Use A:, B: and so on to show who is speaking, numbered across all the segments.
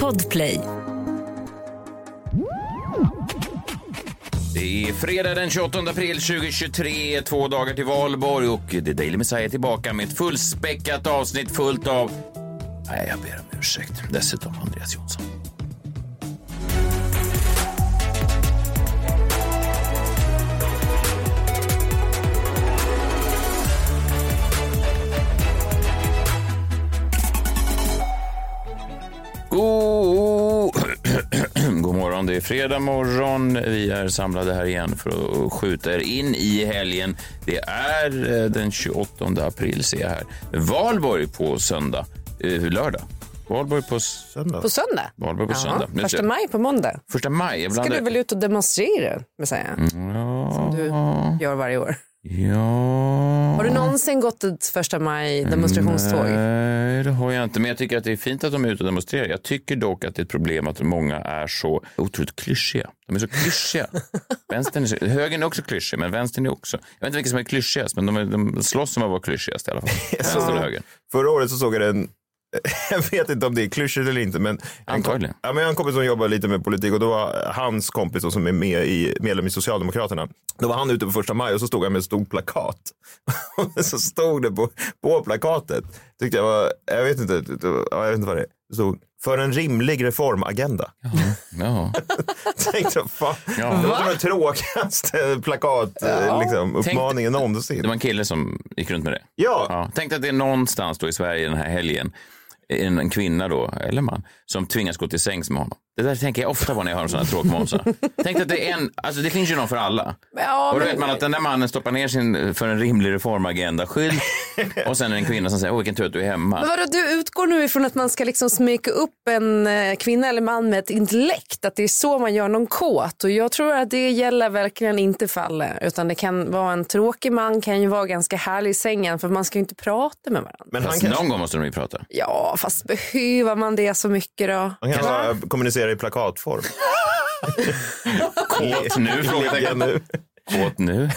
A: Podplay.
B: Det är fredag den 28 april 2023, två dagar till valborg och The Daily Messiah är tillbaka med ett fullspäckat avsnitt fullt av... Nej, jag ber om ursäkt. Dessutom Andreas Jonsson. God... God morgon, det är fredag morgon. Vi är samlade här igen för att skjuta er in i helgen. Det är eh, den 28 april, ser jag här. Valborg på söndag. Eh, lördag. Valborg på s-
C: Söndag.
D: På söndag?
B: Valborg på söndag. Nu
D: Första
B: ser-
D: maj på måndag.
B: första maj. Jag
D: Ska
B: blandar-
D: du väl ut och demonstrera, Messiah?
B: Mm, Ja.
D: du Gör varje år.
B: ja. Mm,
D: Har du någonsin gått ett första maj demonstrationståg?
B: Nej, Eh, det har jag inte. Men jag tycker att det är fint att de är ute och demonstrerar. Jag tycker dock att det är ett problem att många är så otroligt klyschiga. De är så klyschiga. vänstern är så, högern är också klyschig, men vänstern är också... Jag vet inte vilka som är klyschigast, men de, är, de slåss om att vara klyschigast i alla fall. Vänstern och högern.
C: Förra året så såg jag en, jag vet inte om det är klyschigt eller inte, men en, kom,
B: Antagligen.
C: ja, men jag har en kompis som jobbar lite med politik och då var hans kompis då, som är med i, medlem i Socialdemokraterna. Då var han ute på första maj och så stod han med ett stort plakat. Och så stod det på, på plakatet, tyckte jag var, jag vet inte, det var- ja, jag vet inte vad det är. Det stod, för en rimlig reformagenda.
B: Ja.
C: Tänkte, jag, fan, Det var den tråkigaste plakat, eh, liksom, uppmaningen någonsin.
B: Det var en kille som gick runt med det.
C: Ja.
B: Ja, tänk dig att det är någonstans då i Sverige den här helgen en, en kvinna då, eller man, som tvingas gå till sängs med honom. Det där tänker jag ofta på när jag hör sådana tråkmånsar. tänk dig att det är en, alltså det finns ju någon för alla.
D: Ja,
B: och då
D: men-
B: vet man att den där mannen stoppar ner sin eh, för en rimlig reformagenda-skylt och sen är det en kvinna som säger åh vilken tur att du är
D: Men
B: hemma.
D: vadå, du utgår nu ifrån att man ska liksom smeka upp en eh, kvinna eller man med ett intellekt, att det är så man gör någon kåt. Och jag tror att det gäller verkligen inte för alla, utan det kan vara en tråkig man, kan ju vara ganska härlig i sängen, för man ska ju inte prata med varandra.
C: Men han
B: Fast
C: kanske,
B: någon gång måste de ju prata.
D: Ja, fast behöver man det så mycket då?
C: han kanske bara kommunicerar i plakatform.
B: Kåt nu?
C: Ligga
B: frågetecken.
C: nu.
B: Kåt nu?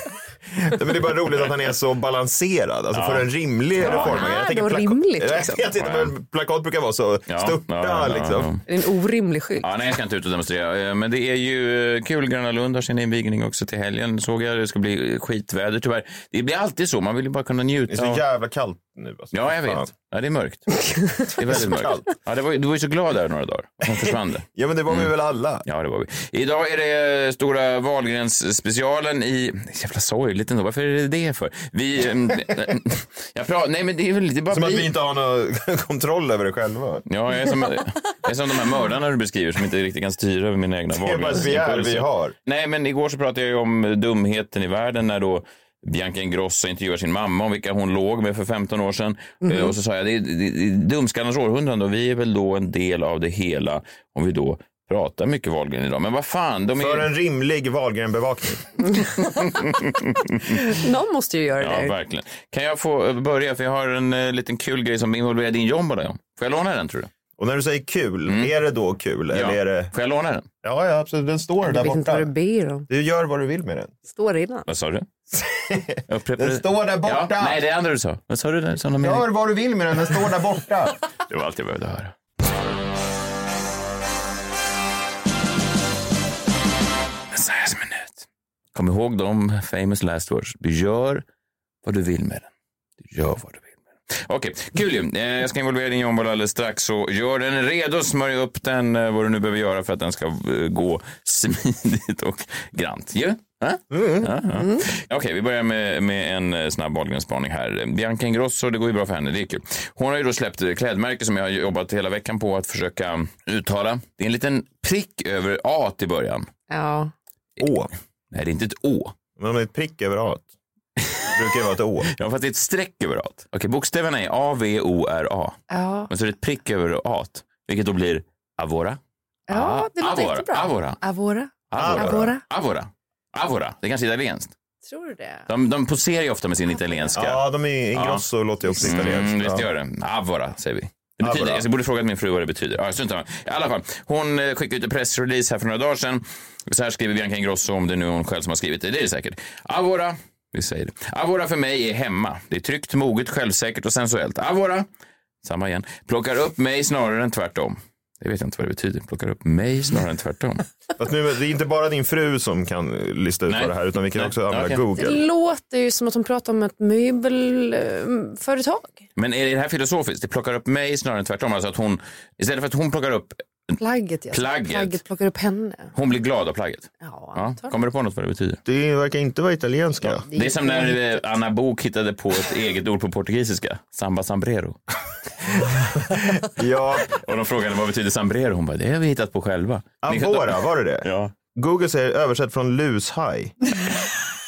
C: Nej, men det är bara roligt att han är så balanserad. Alltså för en rimlig reformagenda.
D: är
C: Jag tänker
D: nog
C: plaka-
D: rimligt,
C: Jag
D: liksom.
C: vet inte, men plakat brukar vara så störta liksom.
D: Det är en orimlig skylt.
B: Ja, nej, jag ska inte ut och demonstrera. Eh, Men det är ju eh, kul. Gröna Lund har sin invigning också till helgen. Såg jag. Det ska bli eh, skitväder tyvärr. Det blir alltid så. Man vill ju bara kunna
C: Det är
B: njuta.
C: så
B: av-
C: jävla kallt nu. Alltså.
B: Ja, jag
C: Fan.
B: vet. Ja, det är mörkt. Det är väldigt mörkt.
C: kallt.
B: Ja, det var, ju- du var ju så glad där några dagar. Och sen försvann det.
C: Ja, men det var vi väl alla.
B: Ja, det var vi. Idag är det stora Wahlgrens-specialen i... Jävla sorgligt ändå. Varför är det det för? Vi... em, Jag pratar... Nej, men det är väl... Det är bara
C: Som att
B: vi.
C: vi inte har någon kontroll över det själva.
B: Ja, jag är, som, jag är som de här mördarna du beskriver som inte riktigt kan styra över mina egna
C: Det är bara ett begär vi
B: Impulser.
C: har.
B: Nej, men igår så pratade jag ju om dumheten i världen när då Bianca Ingrosso intervjuar sin mamma om vilka hon låg med för 15 år sedan.
C: Mhm.
B: Eh, Och så sa jag, det är, det är- det är dumskallens århundrade och vi är väl då en del av det hela om vi då pratar mycket Wahlgren idag. Men vad fan, de är...
C: För en rimlig Wahlgren-bevakning.
D: Någon måste ju göra
B: Ja,
D: det.
B: verkligen. Kan jag få eh, börja? För jag har en eh, liten kul grej som involverar din jombo där. Får jag låna den tror du?
C: Och när du säger kul, är det då kul? Eller är det...
B: Får jag låna den?
C: Mm. Ja, ja, absolut. Den står
D: Jag
C: där
D: vet inte vad
C: borta.
D: du ber om.
C: Du gör vad du vill med den.
D: Står innan.
B: Vad sa du? Upprepa
C: Den
B: det.
C: står där borta.
B: Ja, nej, det andra du sa. Vad sa du? Där, sa någon mening?
C: Gör vad du vill med den, den står där borta.
B: Det var allt jag behövde höra. Messiahs minut. Kom ihåg de famous last words. Du gör vad du vill med den. Du gör vad du vill med den. Okej, kul ju. Eh, Jag ska involvera din jomboll alldeles strax. Så gör den redo, smörj upp den, eh, vad du nu behöver göra för att den ska eh, gå smidigt och grant. Ju? Ja?
C: Mm.
B: Ja, ja. Okej, vi börjar med, med en eh, snabb Wahlgren-spaning här. Bianca Ingrosso, det går ju bra för henne, det är kul. Hon har ju då släppt eh, klädmärke som jag har jobbat hela veckan på att försöka uttala. Det är en liten prick över A i början.
D: Ja.
C: Å.
B: Nej, det är inte ett Å.
C: Men med ett prick över A. Det brukar ju vara ett Å.
B: Ja, fast det är ett streck över A. Okej, bokstäverna är A, V, O, R, A.
D: Ja.
B: Men så är det ett prick över A, vilket då blir Avora.
D: ja, det låter
B: Avora.
D: jättebra.
B: Avora.
D: Avora.
B: Avora.
D: Avora.
B: Avora. Avora. Det är kanske är italienskt.
D: Tror du det?
B: De, de poserar ju ofta med sin italienska.
C: Ja, de är Ingrosso låter ju också italienskt.
B: Mm, visst
C: ja.
B: gör det. Avora säger vi. Det betyder,
C: Avora.
B: jag borde frågat min fru vad det betyder. Ja, strunt samma. I alla fall, hon eh, skickade ut en pressrelease här för några dagar sedan. Så här skriver Bianca Ingrosso, om det nu är hon själv som har skrivit det. Det är det säkert. Avora, vi säger det. Avora för mig är hemma. Det är tryggt, moget, självsäkert och sensuellt. Avora, samma igen, plockar upp mig snarare än tvärtom. Det vet jag inte vad det betyder. Plockar upp mig snarare än tvärtom.
C: Fast nu, det är inte bara din fru som kan eh, lista ut
B: Nej.
C: vad det här utan vi kan
B: Nej.
C: också använda
B: Okej.
D: Det
C: Google.
D: låter ju som att hon pratar om ett möbelföretag.
B: Men är det här filosofiskt? Det plockar upp mig snarare än tvärtom. Alltså att hon, istället för att hon plockar upp,
D: Plagget, ja.
B: Plagget.
D: Plagget plockar upp henne.
B: hon blir glad av plagget.
D: Ja,
B: Ja.
D: antar
B: Kommer du på något vad det betyder?
C: Det verkar inte vara italienska.
B: Det är som när eh, Anna Bok hittade på ett eget ord på portugisiska. Samba sambrero.
C: Ja,
B: Och de frågade vad betyder sambrero? Hon bara, det har vi hittat på själva. Ni-
C: Avora, var det det?
B: Ja.
C: Google säger översätt från lushaj.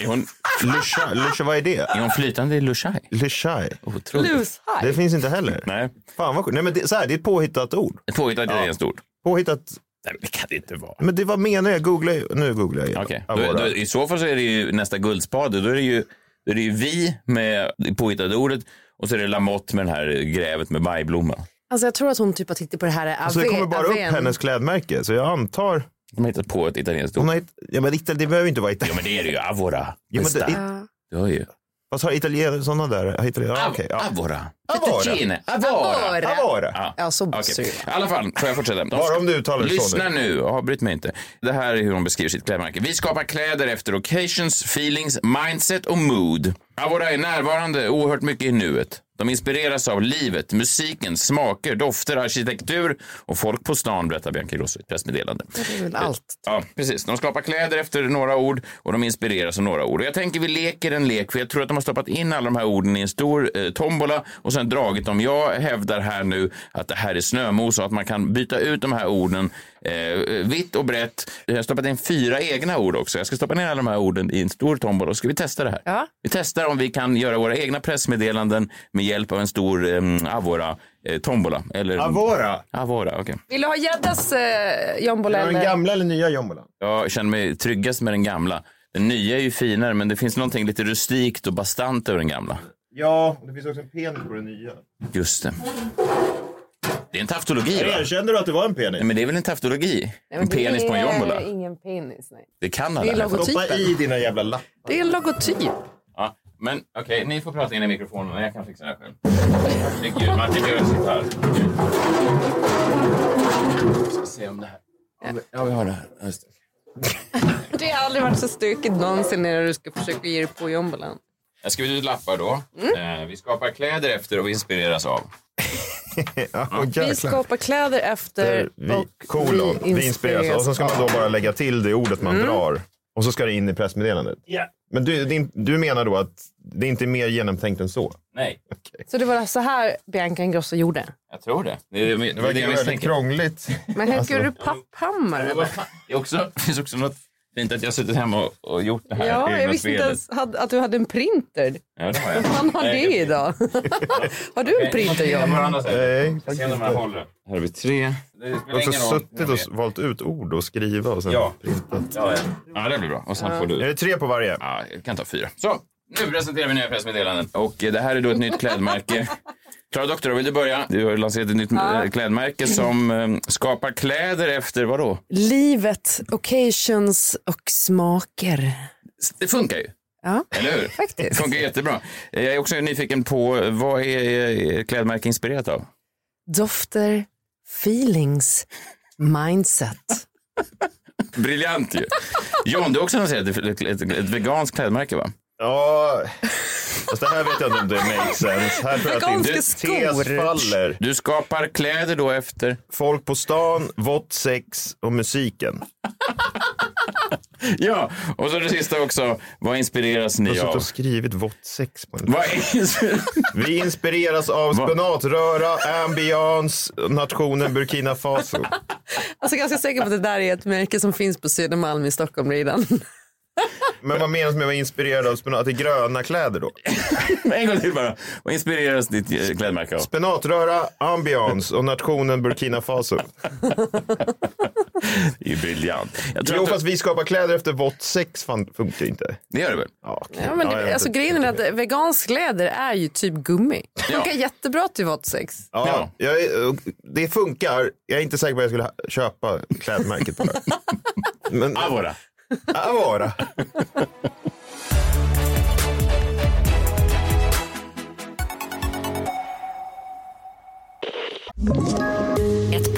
B: Är hon,
C: Lusha, lusha, vad är det?
B: är hon flytande i lushai?
C: Lushaj.
B: Otroligt.
C: Det finns inte heller.
B: Nej,
C: Fan vad sjukt. Nej men det, så här, det är ett påhittat ord.
B: ett påhittat italienskt ord.
C: Påhittat.
B: Nej, men det kan det inte vara.
C: Men det var menar jag. Googla, nu googlar jag.
B: Okej,
C: Avora.
B: då, då, i så fall så är det ju nästa guldspade. Då är det ju, då är det ju vi med det påhittade ordet och så är det Lamotte med den här grävet med bajblomma.
D: Alltså jag tror att hon typ har tittat på det här Ave,
C: Alltså, det kommer bara upp
D: Aven.
C: hennes klädmärke. Så jag antar.
B: De har hittat på ett italienskt ord.
C: Hon har, hitt- ja, men Ital- det behöver ju inte vara
B: Ja,
C: italienska.
B: men det är det ju. Avora.
C: Ja, men det-
B: Pesta.
D: Ja.
B: Du hör ju.
C: Fast har italienare sådana där? Hittar ja,
B: Av-
C: okej, ja.
B: Avora.
C: Avora.
B: Fettuccine. Avora.
D: Avora.
C: Avora.
B: Ja.
D: Ja, så
B: Okej,
D: okay.
B: i alla fall får jag fortsätta. De
C: Bara om du uttalar det så
B: Lyssna
C: nu.
B: nu, avbryt mig inte. Det här är hur hon beskriver sitt klädmärke. Vi skapar kläder efter occasions, feelings, mindset och mood. Avora är närvarande oerhört mycket i nuet. De inspireras av livet, musiken, smaker, dofter, arkitektur och folk på stan, berättar Bianca Ingrosso i ett pressmeddelande.
D: Det är väl allt.
B: Ja, precis. De skapar kläder efter några ord och de inspireras av några ord. Och jag tänker vi leker en lek, för jag tror att de har stoppat in alla de här orden i en stor eh, tombola och sen dragit dem. Jag hävdar här nu att det här är snömos och att man kan byta ut de här orden eh, vitt och brett. Jag har stoppat in fyra egna ord också. Jag ska stoppa ner alla de här orden i en stor tombola och ska vi testa det här.
D: Ja.
B: Vi testar om vi kan göra våra egna pressmeddelanden med hjälp av en stor eh, Avora eh, tombola. Eller,
C: Avora.
B: Avora, okej.
D: Vill du ha gäddas eh, jombola?
C: Är det den
D: eller?
C: gamla eller nya jombolan?
B: Jag känner mig tryggast med den gamla. Den nya är ju finare, men det finns någonting lite rustikt och bastant över den gamla.
C: Ja, det finns också en penis på den nya.
B: Just det. Det är en taftologi, va?
C: Erkände du att det var en
B: Nej,
C: penis?
B: men det är väl en taftologi?
D: Nej,
B: en
D: men det
B: penis på en
D: är
B: jombola?
D: Ingen penis, nej.
B: Det kan
D: Det
B: alla.
D: är
B: här.
D: lagom.
C: Stoppa i dina jävla lappar.
D: Det är en logotyp.
B: Ja, men okej, ni får prata in i mikrofonerna. Jag kan fixa det här själv. Herregud, Martin behöver sitta här. Vi ska se om det här... Ja, vi har det här. Just det.
D: Det har aldrig varit så stökigt någonsin när du ska försöka ge dig på jombolan.
B: Jag skriver ut lappar då.
D: Mm.
B: Eh, vi skapar kläder efter och vi inspireras av.
C: Ja, och
D: Vi
C: jäklar.
D: skapar kläder efter
C: Vi,
D: och
C: kolon, vi inspireras. Mm. Och
D: av.
C: så ska man då bara lägga till det ordet man drar. Och så ska det in i pressmeddelandet. Men du, din, du menar då att det inte är mer genomtänkt än så?
B: Nej,
D: Så det var så här Bianca Ingrosso gjorde.
B: jag tror det. Det, är- det,
C: Det
B: är det
C: verkar
B: jag
C: väldigt
B: misstänker.
C: krångligt.
D: Men
C: Alltså-
D: hur skulle du papphammar?
B: Det
D: eller?
B: var fan- det är också, det finns också något fint att jag har suttit hemma och, och gjort det här
D: Ja,
B: egna
D: jag visste inte
B: spelet.
D: ens had- att du hade en printer.
B: Ja, det har jag.
D: Han har
B: Nej,
D: det idag. har du en printer, John?
C: Nej,
B: Jag ser om jag håller. Här har vi tre. Det
C: Jag har också suttit och valt ut ord och skriva och sen
B: Ja.
C: printat.
B: Ja, ja. ja, det blir bra. Och sen får
C: Är
B: du...
C: det tre på varje?
B: Ja, jag kan ta fyra. Så, nu presenterar vi nya pressmeddelanden. Och eh, det här är då ett nytt klädmärke. Klara Doktor, vill du börja? Du har ju lanserat ett nytt eh, klädmärke som eh, skapar kläder efter vadå?
D: Livet, occasions och smaker.
B: Det funkar ju.
D: Ja,
B: Eller hur? Det
D: faktiskt.
B: funkar jättebra. Eh, Jag är också nyfiken på eh, vad är eh, klädmärke inspirerat av?
D: Dofter, feelings, mindset.
B: Briljant ju. John, du har också lanserat ett, ett, ett, ett veganskt klädmärke va?
C: Ja. Fast det här vet jag inte om det makes sense. Här tror jag att din
D: Veganska
C: tes
D: skor.
C: faller.
B: Du skapar kläder då efter...
C: Folk på stan, vått sex och musiken.
B: Ja, och så det sista också. Vad inspireras
C: Jag har
B: ni
C: suttit
B: av?
C: och skrivit vått sex på en
B: Vad är...
C: Vi inspireras av spenatröra, ambiance, nationen Burkina Faso.
D: Alltså ganska säker på att det där är ett märke som finns på Södermalm i Stockholm redan.
C: Men vad menas med att vara inspirerad av spenat? Att det är gröna kläder då?
B: en gång till bara. Vad inspireras ditt eh, klädmärke av?
C: Spenatröra, ambiance och nationen Burkina Faso.
B: Det är ju briljant. Jag tror
C: Jo,
B: att
C: fast vi skapar kläder efter vått sex fan, funkar inte.
B: Det gör det väl?
C: Ja, okej.
D: Ja, men
C: jag
D: det,
C: vet
D: alltså,
C: inte.
D: grejen är att vegansk kläder är ju typ gummi. Funkar jättebra till vått sex.
C: Ja, jag, är- det funkar. Jag är inte säker på att jag skulle ha- köpa klädmärket bara. Men
B: Avora.
C: Avora.
A: Ett Ett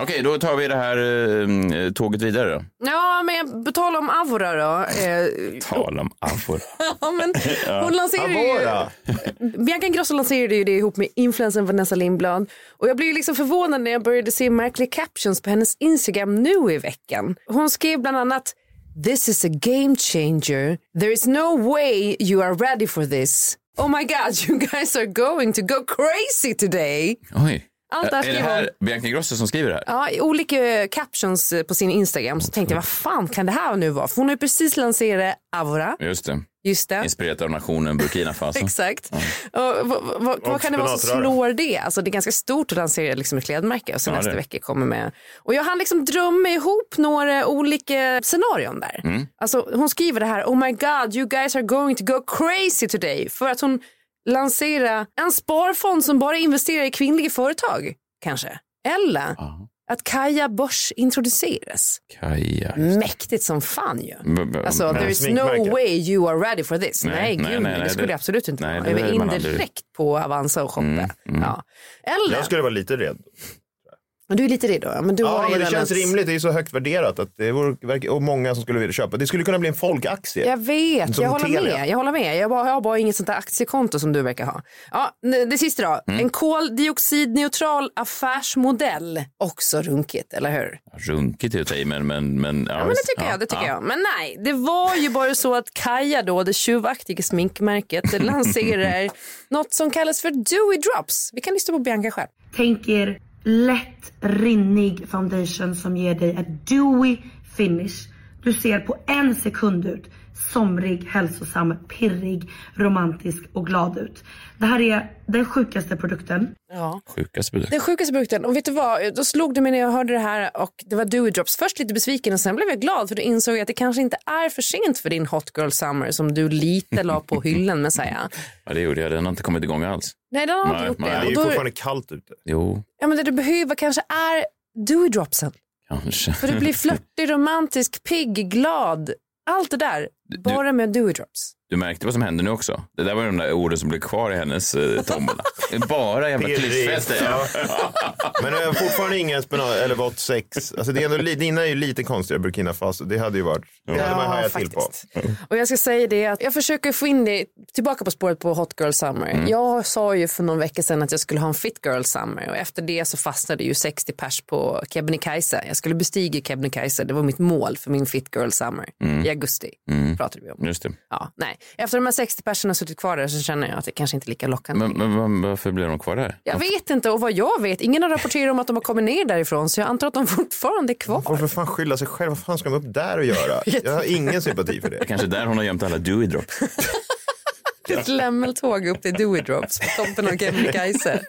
B: Okej, då tar vi det här eh, tåget vidare då.
D: Ja, men på tal om Avora då. Eh,
B: Tala om Avora.
D: ja, men hon lanserade ju,
C: Avora.
D: Bianca Ingrosso lanserade ju det ihop med influencern Vanessa Lindblad. Och jag blev ju liksom förvånad när jag började se märkliga captions på hennes Instagram nu i veckan. Hon skrev bland annat This is a game changer. There is no way you are ready for this. Oh my god, you guys are going to go crazy today.
B: Oj.
D: Allt det här
B: är det
D: skriver
B: här Bianca Ingrosso som skriver det här?
D: Ja, i olika eh, captions eh, på sin Instagram så tänkte jag vad fan kan det här nu vara? För hon har ju precis lanserat Avora.
B: Just det.
D: Just det.
B: Inspirerat av nationen Burkina Faso.
D: Exakt. Och, vad, vad, vad, vad kan det vara som
C: spenatröra.
D: slår det? Alltså, det är ganska stort att lansera liksom, ett klädmärke och så
B: Ja,
D: nästa
B: det.
D: vecka kommer med. Och jag hann liksom drömma ihop några olika scenarion där.
B: Mm.
D: Alltså, hon skriver det här, oh my god you guys are going to go crazy today. För att hon lanserar en sparfond som bara investerar i kvinnliga företag kanske. Eller
B: Ja.
D: att Kaja Börs introduceras.
B: Kaja.
D: Mäktigt som fan ju.
B: B- b-
D: Mm. Alltså, there is no
C: sminkmärke.
D: way you are ready for this. Nej,
B: Nej, nej,
D: gud,
B: nej, nej,
D: det skulle
B: det-
D: jag absolut inte
B: nej,
D: vara.
B: det
D: Jag var
B: vill man
D: indirekt
B: aldrig.
D: på Avanza och shoppa. Ja. Eller,
C: Jag skulle vara lite rädd.
D: men du är lite redo. Men du har
C: Ja, men det
D: redan
C: känns
D: ens-
C: rimligt. Det är så högt värderat att det vore, verkar- och många som skulle vilja köpa. Det skulle kunna bli en folkaktie.
D: Jag vet,
C: Som
D: jag håller,
C: Telia.
D: med, jag håller med. Jag bara, jag har bara inget sånt där aktiekonto som du verkar ha. Ja, n- det sista då. En koldioxidneutral affärsmodell. Också runkigt, eller hur?
B: Runkigt är att ta i, men... men, men,
D: Ja, men det tycker jag. Det tycker jag. Men nej, det var ju bara så att Kaja då, det tjuvaktiga sminkmärket, lanserar något som kallas för Dewy Drops. Vi kan lyssna på Bianca själv.
E: Tänk er lätt rinnig foundation som ger dig ett dewy finish. Du ser på en sekund ut somrig, hälsosam, pirrig, romantisk och glad ut. Det här är den sjukaste produkten.
D: Ja.
B: Sjukaste produkt.
D: Den sjukaste produkten. Och vet du vad? Då slog det mig när jag hörde det här och det var Dewey Drops. Först lite besviken och sen blev jag glad för då insåg jag att det kanske inte är för sent för din Hot Girl Summer som du lite la på hyllan med säga.
B: Ja, det gjorde jag. Den har inte kommit igång alls.
D: Nej, den har inte
B: Nej,
D: gjort
B: nej.
C: Det är
D: det.
C: ju
D: Och då,
C: fortfarande kallt ute.
B: Jo,
D: ja, men det du behöver kanske är Dewey Dropsen.
B: kanske.
D: För du blir flörtig, romantisk, pigg, glad. Allt det där, bara med Dewey Drops.
B: Du märkte vad som hände nu också. Det där var de där orden som blev kvar i hennes eh, tombola. Bara jävla
C: Pirrig.
B: klyschfester. Ja.
C: Men jag har fortfarande ingen spenat eller vått sex. Alltså det är ändå, li- dina är ju lite konstiga Burkina Faso. Det hade ju varit, det hade man hajat till på.
D: Och jag ska säga det att jag försöker få in dig tillbaka på spåret på Hot Girl Summer.
C: Mm.
D: Jag sa ju för någon vecka sedan att jag skulle ha en Fit Girl Summer och efter det så fastnade ju 60 pers på Kebnekaise. Jag skulle bestiga Kebnekaise, det var mitt mål för min Fit Girl Summer
C: Mm.
D: i augusti. pratade vi om.
B: Just det.
D: Ja, nej. Efter de här 60 personerna suttit kvar där så känner jag att det kanske inte är lika lockande.
B: Men, men var- varför blev de kvar där?
D: jag vet inte och vad jag vet, ingen har rapporterat om att de har kommit ner därifrån så jag antar att de fortfarande är
C: Får
D: kvar.
C: för fan skylla sig själv. Vad fan ska de upp där och göra? Jag har ingen sympati för det.
B: Kanske där hon har gömt alla Dewey drops.
D: Ett lämmeltåg upp till Dewey Drops på toppen av Kebnekaise.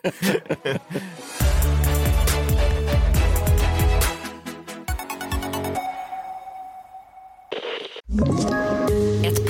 A: Ett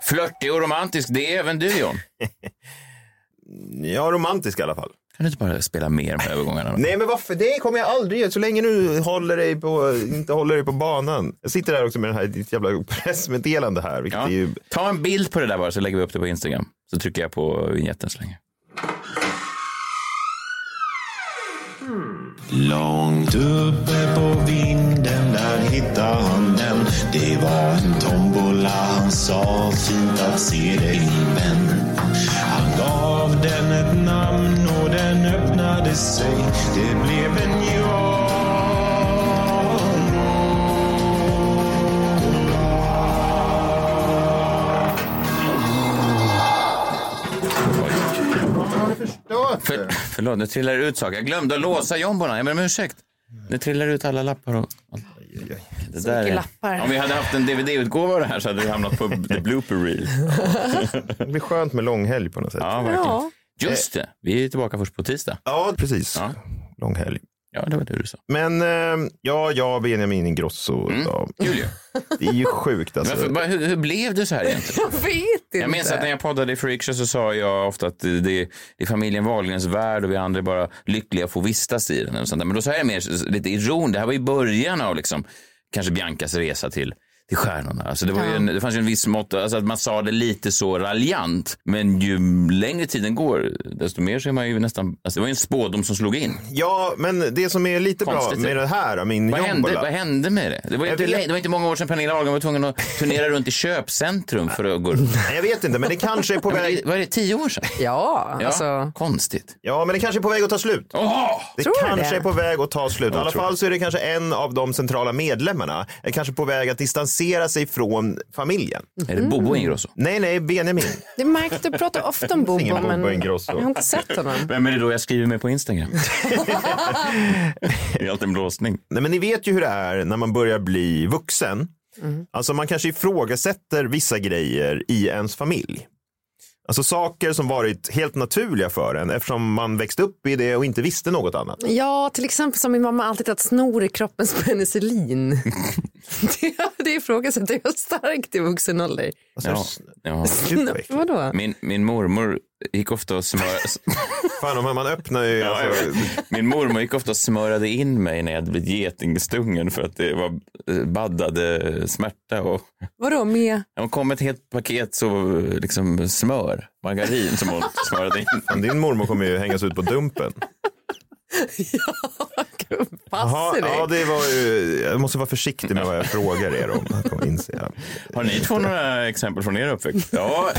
B: Flörtig och romantisk, det är även du John.
C: Ja, romantisk i alla fall.
B: Kan du inte bara spela mer med övergångarna?
C: Nej, men varför? Det kommer jag aldrig göra. Så länge du håller dig på, inte håller dig på banan. Jag sitter här också med den här, ditt jävla pressmeddelande här. Vilket
B: Ja.
C: är ju...
B: Ta en bild på det där bara så lägger vi upp det på Instagram. Så trycker jag på vignetten så länge.
F: Långt uppe på vinden där hittade han den Det var en tombola, han sa fint att se dig min vän Han gav den ett namn och den öppnade sig Det blev en
B: För, Eh, förlåt, nu trillar det ut saker. Jag glömde att låsa jomborna. Jag ber om ursäkt. Nu trillar det ut alla lappar. Och... Det där
D: mycket
B: är-
D: lappar.
B: Om vi hade haft en DVD-utgåva av det här så hade det hamnat på the blooper reel.
C: Det blir skönt med långhelg på något sätt.
B: Ja, verkligen.
D: Ja.
B: Just det, vi är tillbaka först på tisdag.
C: Ja, precis.
B: Ja.
C: Långhelg.
B: Ja, det var det du sa.
C: Men eh, ja, ja, Benjamin Ingrosso. Ja.
B: Mm. Kul ju.
C: Det är ju sjukt alltså.
B: Varför, bara, hur, hur blev det så här egentligen?
D: Jag vet inte.
B: Jag minns att när jag poddade i Freakshow så sa jag ofta att det, det är familjen Wahlgrens värld och vi andra är bara lyckliga att få vistas i den. Och sånt där. Men då sa jag det mer lite iron. Det här var i början av liksom, kanske Biancas resa till till stjärnorna. Alltså det, var ju en, det fanns ju en viss mått, alltså att man sa det lite så raljant. Men ju längre tiden går, desto mer så är man ju nästan... Alltså det var ju en spådom som slog in.
C: Ja, men det som är lite
B: Konstigt,
C: bra
B: det.
C: med det här, min
B: Vad hände, vad
C: jombola.
B: hände med det? Det var, ju
C: Jag
B: inte,
C: vet-
B: lä- det var inte många år sedan Pernilla Ahlgren var tvungen att turnera runt i köpcentrum för att gå runt.
C: Nej, Jag vet inte, men det kanske är på
B: Men
C: väg.
B: det- Vad är det, tio år sedan?
D: Ja,
B: Ja,
D: alltså.
B: Konstigt.
C: Ja, men det kanske är på väg att ta slut.
B: Åh!
C: Det
D: Tror du
C: kanske
D: det?
C: är på väg att ta slut. I alla
B: tror
C: fall så är det kanske en av de centrala medlemmarna är kanske på väg att distansera sig från familjen.
D: Mm.
B: Är det Bobo Ingrosso?
C: Nej, nej, Benjamin.
D: Det märkte du pratar ofta om Bobo,
C: Ingen Bobo
D: men
C: Ingrosso.
D: jag har inte sett honom.
B: Vem är det då jag skriver med på Instagram? det är alltid en blåsning.
C: Nej, men ni vet ju hur det är när man börjar bli vuxen.
D: Mm.
C: Alltså man kanske ifrågasätter vissa grejer i ens familj. Alltså saker som varit helt naturliga för en eftersom man växte upp i det och inte visste något annat.
D: Ja, till exempel som min mamma alltid att snor i kroppens penicillin. det, det ifrågasätter jag starkt i vuxen ålder.
C: Alltså,
B: Ja, ja.
C: Gud, vad äckligt.
D: Vadå?
B: Min, min mormor gick ofta och smörade...
C: Fan, om man öppnar ju... Alltså,
B: Min mormor gick ofta och smörade in mig när jag hade blivit getingstungen för att det var eh, baddade eh, smärta. Och...
D: Vadå med?
B: Hon kom med ett helt paket så, eh, liksom, smör, margarin som hon smörade in.
C: fan, din mormor kommer ju hängas ut på dumpen.
D: Passar det?
C: ja, det var ju... Jag måste vara försiktig med vad jag frågar er om. Jag kommer inse. det.
B: Har ni två några exempel från er uppväxt? Ja,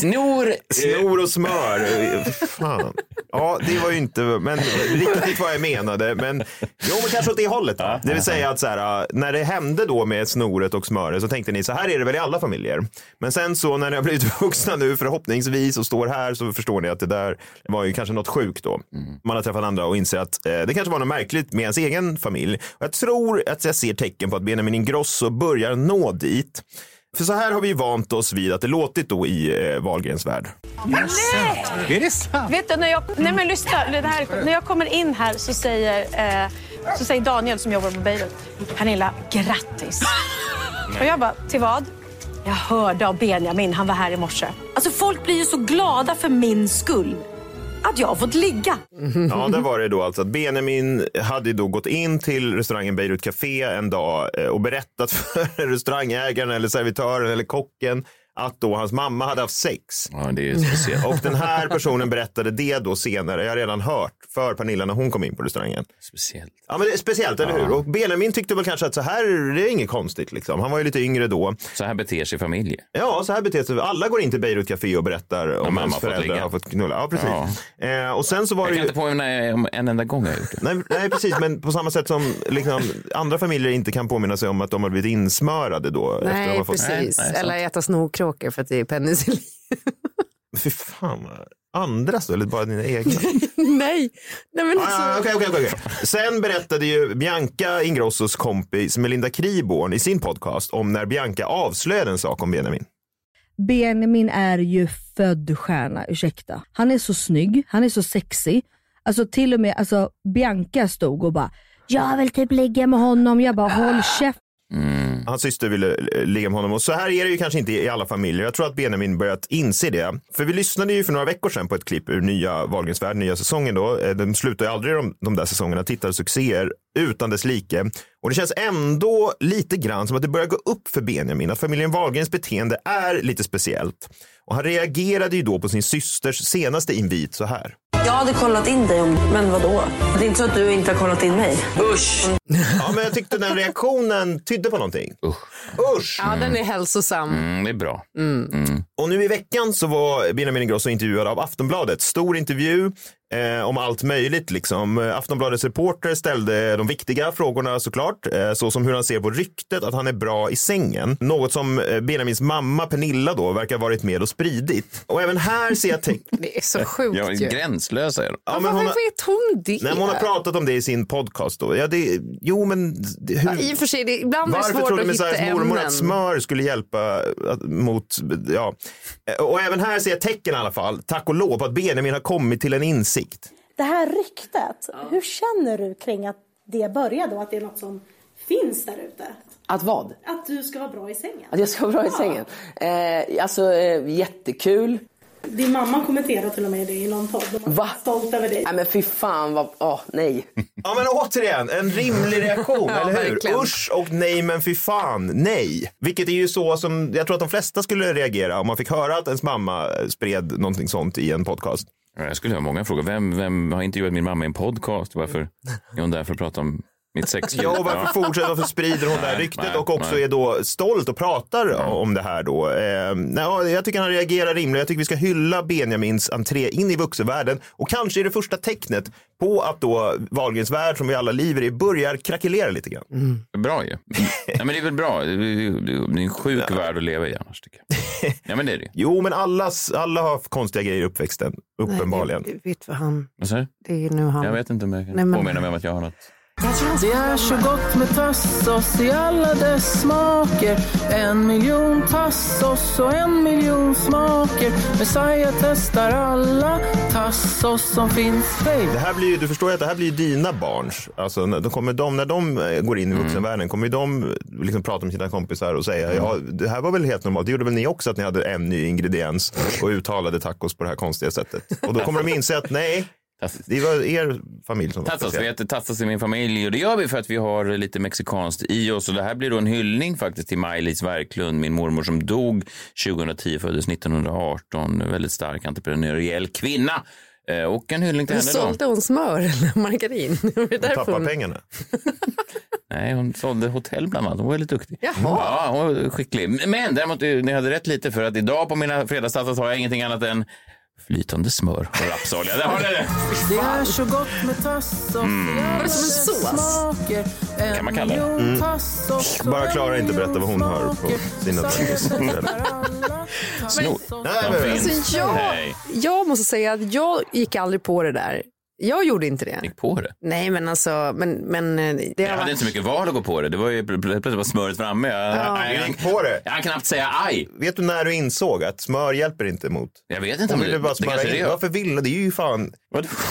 B: snor.
C: Snor och smör. Fan. Ja, det var ju inte men riktigt vad jag menade. Men jo, men kanske åt det hållet. Då. Det vill säga att så här, när det hände då med snoret och smöret så tänkte ni så här är det väl i alla familjer. Men sen så när ni har blivit vuxna nu förhoppningsvis och står här så förstår ni att det där var ju kanske något sjukt då. Man har träffat andra och inser att eh, det kanske var något märkligt med ens egen familj. Och jag tror att jag ser tecken på att Benjamin Ingrosso börjar nå dit. För så här har vi ju vant oss vid att det låtit då i eh, Wahlgrens värld.
G: Vet du, när jag, nej men lyssna, det här, när jag kommer in här så säger, eh, så säger Daniel som jobbar på Beirut, Pernilla, grattis. Och jag bara, till vad? Jag hörde av Benjamin, han var här i morse. Alltså folk blir ju så glada för min skull. Att jag har fått ligga.
C: Ja, där var det då alltså att Benjamin hade ju då gått in till restaurangen Beirut Café en dag eh, och berättat för restaurangägaren eller servitören eller kocken att då hans mamma hade haft sex.
B: Ja, det är ju speciellt.
C: Och den här personen berättade det då senare, jag har redan hört, för Pernilla när hon kom in på restaurangen.
B: speciellt.
C: Ja men det är speciellt, eller hur? Och Benjamin tyckte väl kanske att så här, det är inget konstigt liksom. Han var ju lite yngre då.
B: Så här beter sig familjer.
C: Ja, så här beter sig. Alla går in till Beirut Café och berättar om
B: mamma
C: ens
B: har fått
C: föräldrar
B: ligga.
C: har fått knulla. Ja, precis. Eh, och sen så var
B: Jag
C: det
B: kan
C: ju...
B: inte påminna er om en enda gång jag har gjort det.
C: Nej, nej precis, men på samma sätt som liksom, andra familjer inte kan påminna sig om att de har blivit insmörade då. efter att de
D: Nej,
C: har fått...
D: precis.
B: Nej, nej,
D: Eller äta snorkråkor för att det är penicillin.
C: Fy fan, vad- andras då? Eller bara dina egna? Ah,
D: nej. nej, men alltså.
C: ja, okej, okej, okej, okej. Sen berättade ju Bianca Ingrossos kompis Melinda Kriborn i sin podcast om när Bianca avslöjade en sak om Benjamin.
H: Benjamin är ju född stjärna, ursäkta. Han är så snygg, han är så sexig. Alltså till och med alltså, Bianca stod och bara, jag vill typ ligga med honom. Jag bara, håll käft.
C: Hans syster ville eh, ligga med honom och så här är det ju kanske inte i alla familjer. Jag tror att Benjamin börjat inse det. För vi lyssnade ju för några veckor sedan på ett klipp ur nya Wahlgrens värld, nya säsongen då. Eh, De slutar ju aldrig de, de där säsongerna, tittarsuccéer. utan dess like. Och det känns ändå lite grann som att det börjar gå upp för Benjamin att familjen Wahlgrens beteende är lite speciellt. Och han reagerade ju då på sin systers senaste invit så här.
I: Jag hade kollat in dig, om, men vadå? Det är inte så att du inte har kollat in mig. Usch!
C: Ja, men jag tyckte den reaktionen tydde på någonting. Usch. Usch.
D: Ja, den är hälsosam.
B: Mm, det är bra.
C: Och nu i veckan så var Benjamin Ingrosso intervjuad av Aftonbladet. Stor intervju eh, om allt möjligt. Liksom. Eh, Aftonbladets reporter ställde de viktiga frågorna såklart. Eh, såsom hur han ser på ryktet att han är bra i sängen. Något som eh, Benjamins mamma Pernilla då verkar ha varit med och spridit. Och även här ser jag tecken.
D: det är så sjukt
B: Jag är gränslös är de.
C: Ja, men
D: Varför
C: hon har,
D: vet hon det?
C: nej, men hon har pratat om det i sin podcast. Då. Ja, det, jo, men det- hur?
D: Ja, I och för sig, det, ibland är det
C: Varför
D: svårt
C: trodde
D: att hitta
C: Messiahs mormor att
D: ämnen.
C: smör skulle hjälpa att, mot, ja. Eh, Och även här ser jag tecken i alla fall, tack och lov, på att Benjamin har kommit till en insikt.
J: Det här ryktet, hur känner du kring att det börjar då? Att det är något som finns där ute?
K: Att vad?
J: Att du ska vara bra i sängen?
K: Att jag ska vara bra i
J: Ja.
K: sängen? Eh, alltså, eh, jättekul.
J: Din mamma kommenterade till och med det i någon podd. Hon var
K: Va?
J: Stolt över dig.
K: Nej men fy fan vad, åh nej.
C: Ja men återigen, en rimlig reaktion,
K: Ja,
C: eller hur?
K: verkligen.
C: Usch och nej men fy fan, nej. Vilket är ju så som jag tror att de flesta skulle reagera om man fick höra att ens mamma spred någonting sånt i en podcast.
B: Jag skulle ha många frågor. Vem, vem har intervjuat min mamma i en podcast? Varför är hon där för att prata om mitt sexliv?
C: Ja, och varför fortsätter, varför sprider hon det här
B: Nej,
C: ryktet
B: nej,
C: och också
B: nej.
C: är då stolt och pratar om det här då. Eh, nej, ja, jag tycker han reagerar rimligt. Jag tycker vi ska hylla Benjamins entré in i vuxenvärlden och kanske är det första tecknet på att då Wahlgrens värld som vi alla lever i börjar krackelera lite grann.
B: Bra ju. Ja, men det är väl bra. Det är det är en sjuk värld att leva i annars. Tycker jag. Ja, men det är det ju.
C: Jo, men alla, alla har konstiga grejer i uppväxten, uppenbarligen.
L: Du vet vad han...
B: Vad sa du?
L: Det är nu han...
B: Jag vet inte om jag kan
L: Nej, men-
B: påminna mig om att jag har något.
M: Det är så gott med tassos i alla dess smaker En miljon tassos och en miljon smaker Messiah testar alla tassos som finns Hej!
C: Det här blir, ju- du förstår ju att det här blir ju dina barns. Alltså, när- då kommer de, när de eh,
B: Mm.
C: går in i vuxenvärlden kommer ju de eh, liksom prata med sina kompisar och säga ja, det här var väl helt normalt. Det gjorde väl ni också att ni hade en ny ingrediens och uttalade tacos på det här konstiga sättet. Och då kommer de inse att nej, det var er familj som var
B: Tassas, vi
C: speciell.
B: äter tassas i min familj och det gör vi för att vi har lite mexikanskt i oss. Och det här blir då en hyllning faktiskt till Maj-Lis Werklund, min mormor som dog 2010, föddes 1918. En Väldigt stark entreprenöriell kvinna. Eh, Och en hyllning till
D: Hur
B: henne då.
D: sålde hon smör eller margarin? Var det därför hon-
C: pengarna.
B: Nej, hon sålde hotell bland annat. Hon var ju lite duktig.
D: Jaha.
B: Ja, hon var skicklig. Men däremot, eh, ni hade rätt lite för att idag på mina fredagstassar har jag ingenting annat än flytande smör och rapsolja. Där har ni det!
M: Det är så gott med tassos
B: Mm.
M: i alla
B: Var det som en
M: dess
B: sås?
M: smaker En
B: Kan man kalla det?
M: miljon
B: Mm.
M: tassos och
C: Bara
M: en
C: Klara inte berättar vad hon
M: miljon
C: hör på
M: smaker.
C: sina
M: Messiah
C: tassar.
M: testar alla tassos som finns.
D: Alltså, jag, jag måste säga att jag gick aldrig på det där. Jag gjorde inte det. Gick
B: på det?
D: Nej, men alltså, men, men eh, det
B: Jag hade inte så mycket val att gå på det. Det var ju pl- pl- plötsligt var smöret framme. Jag, jag, jag,
C: gick på det.
B: Jag kan knappt säga aj.
C: Vet du när du insåg att smör hjälper inte mot?
B: Jag vet inte
C: Hon
B: om
C: ville
B: det-
C: bara
B: det
C: smöra
B: kanske det
C: in.
B: gör.
C: Varför ville? Det är ju fan...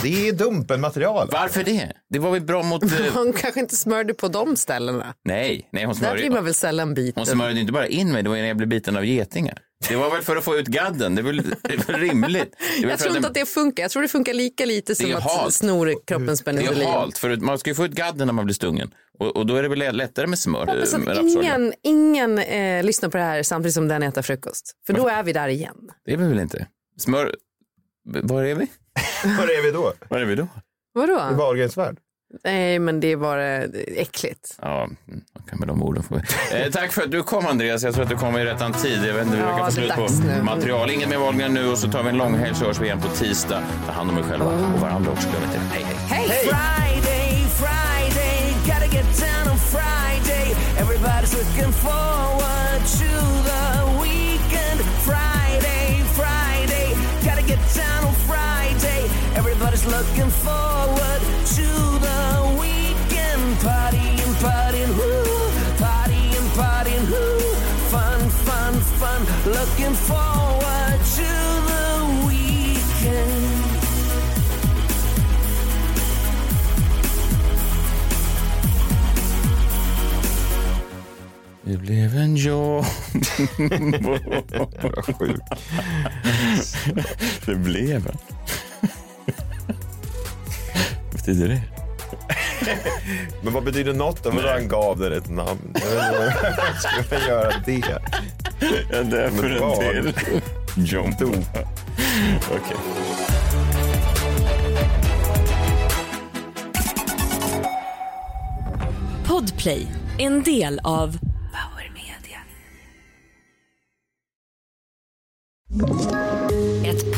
C: Det är dumpenmaterial.
B: Varför det? Det var väl bra mot... eh,
D: Hon kanske inte smörjde på de ställena.
B: Nej, nej hon
D: Där blir man
B: smörjde,
D: väl sällan biten.
B: hon smörjde inte bara in mig. Det var ju när jag blev biten av getingar. Det var väl för att få ut gadden. Det var, det är väl rimligt. Det är väl för
D: Jag tror
B: att
D: inte
B: den-
D: att det funkar. Jag tror det funkar lika lite
B: Det är
D: som att
B: halt.
D: snor kroppens
B: Det är ju
D: penicillin.
B: halt, eh, för man ska ju få ut gadden när man blir stungen. Och, och då är det väl lättare med smör?
D: Jag hoppas
B: eh, med
D: att
B: rapsolja.
D: ingen, Alltså, ingen eh, lyssnar på det här samtidigt som den äter frukost. För då är vi där igen.
B: Det är vi väl inte? Smör... B- Var är vi?
C: Var är vi då?
B: Var är vi då?
D: Vadå?
C: Wahlgrens värld.
D: Nej, men det är bara äckligt.
B: Ja, mm, okej, med de orden får vi. Eh, tack för att du kom Andreas. Jag tror att du kom i rättan tid. Jag vet inte hur vi
D: Ja,
B: kan få
D: det
B: slut
D: är
B: på
D: dags nu.
B: material. Inget mer Wahlgren nu och så tar vi en långhelg så hörs vi igen på tisdag. Ta hand om er själva och varandra också. Glöm inte det. Hej, hej.
N: Friday, Friday, gotta get down on Friday. Everybody's looking forward to the weekend. Friday, Friday, gotta get down on Friday. Everybody's looking forward to the weekend. Party and party and woo, party and party and woo. Fun, fun, fun, looking forward to the weekend.
B: Det blev en jag.
C: Sjuk.
B: Det blev en. Vad betyder det?
C: Men vad betyder något då? Vadå han gav den ett namn? Jag vet inte vad- Ska man göra det?
B: Jag döper
C: Men
B: en
C: vad?
B: till. Jompa. Okej.
A: Podplay, en del av Power Media. Ett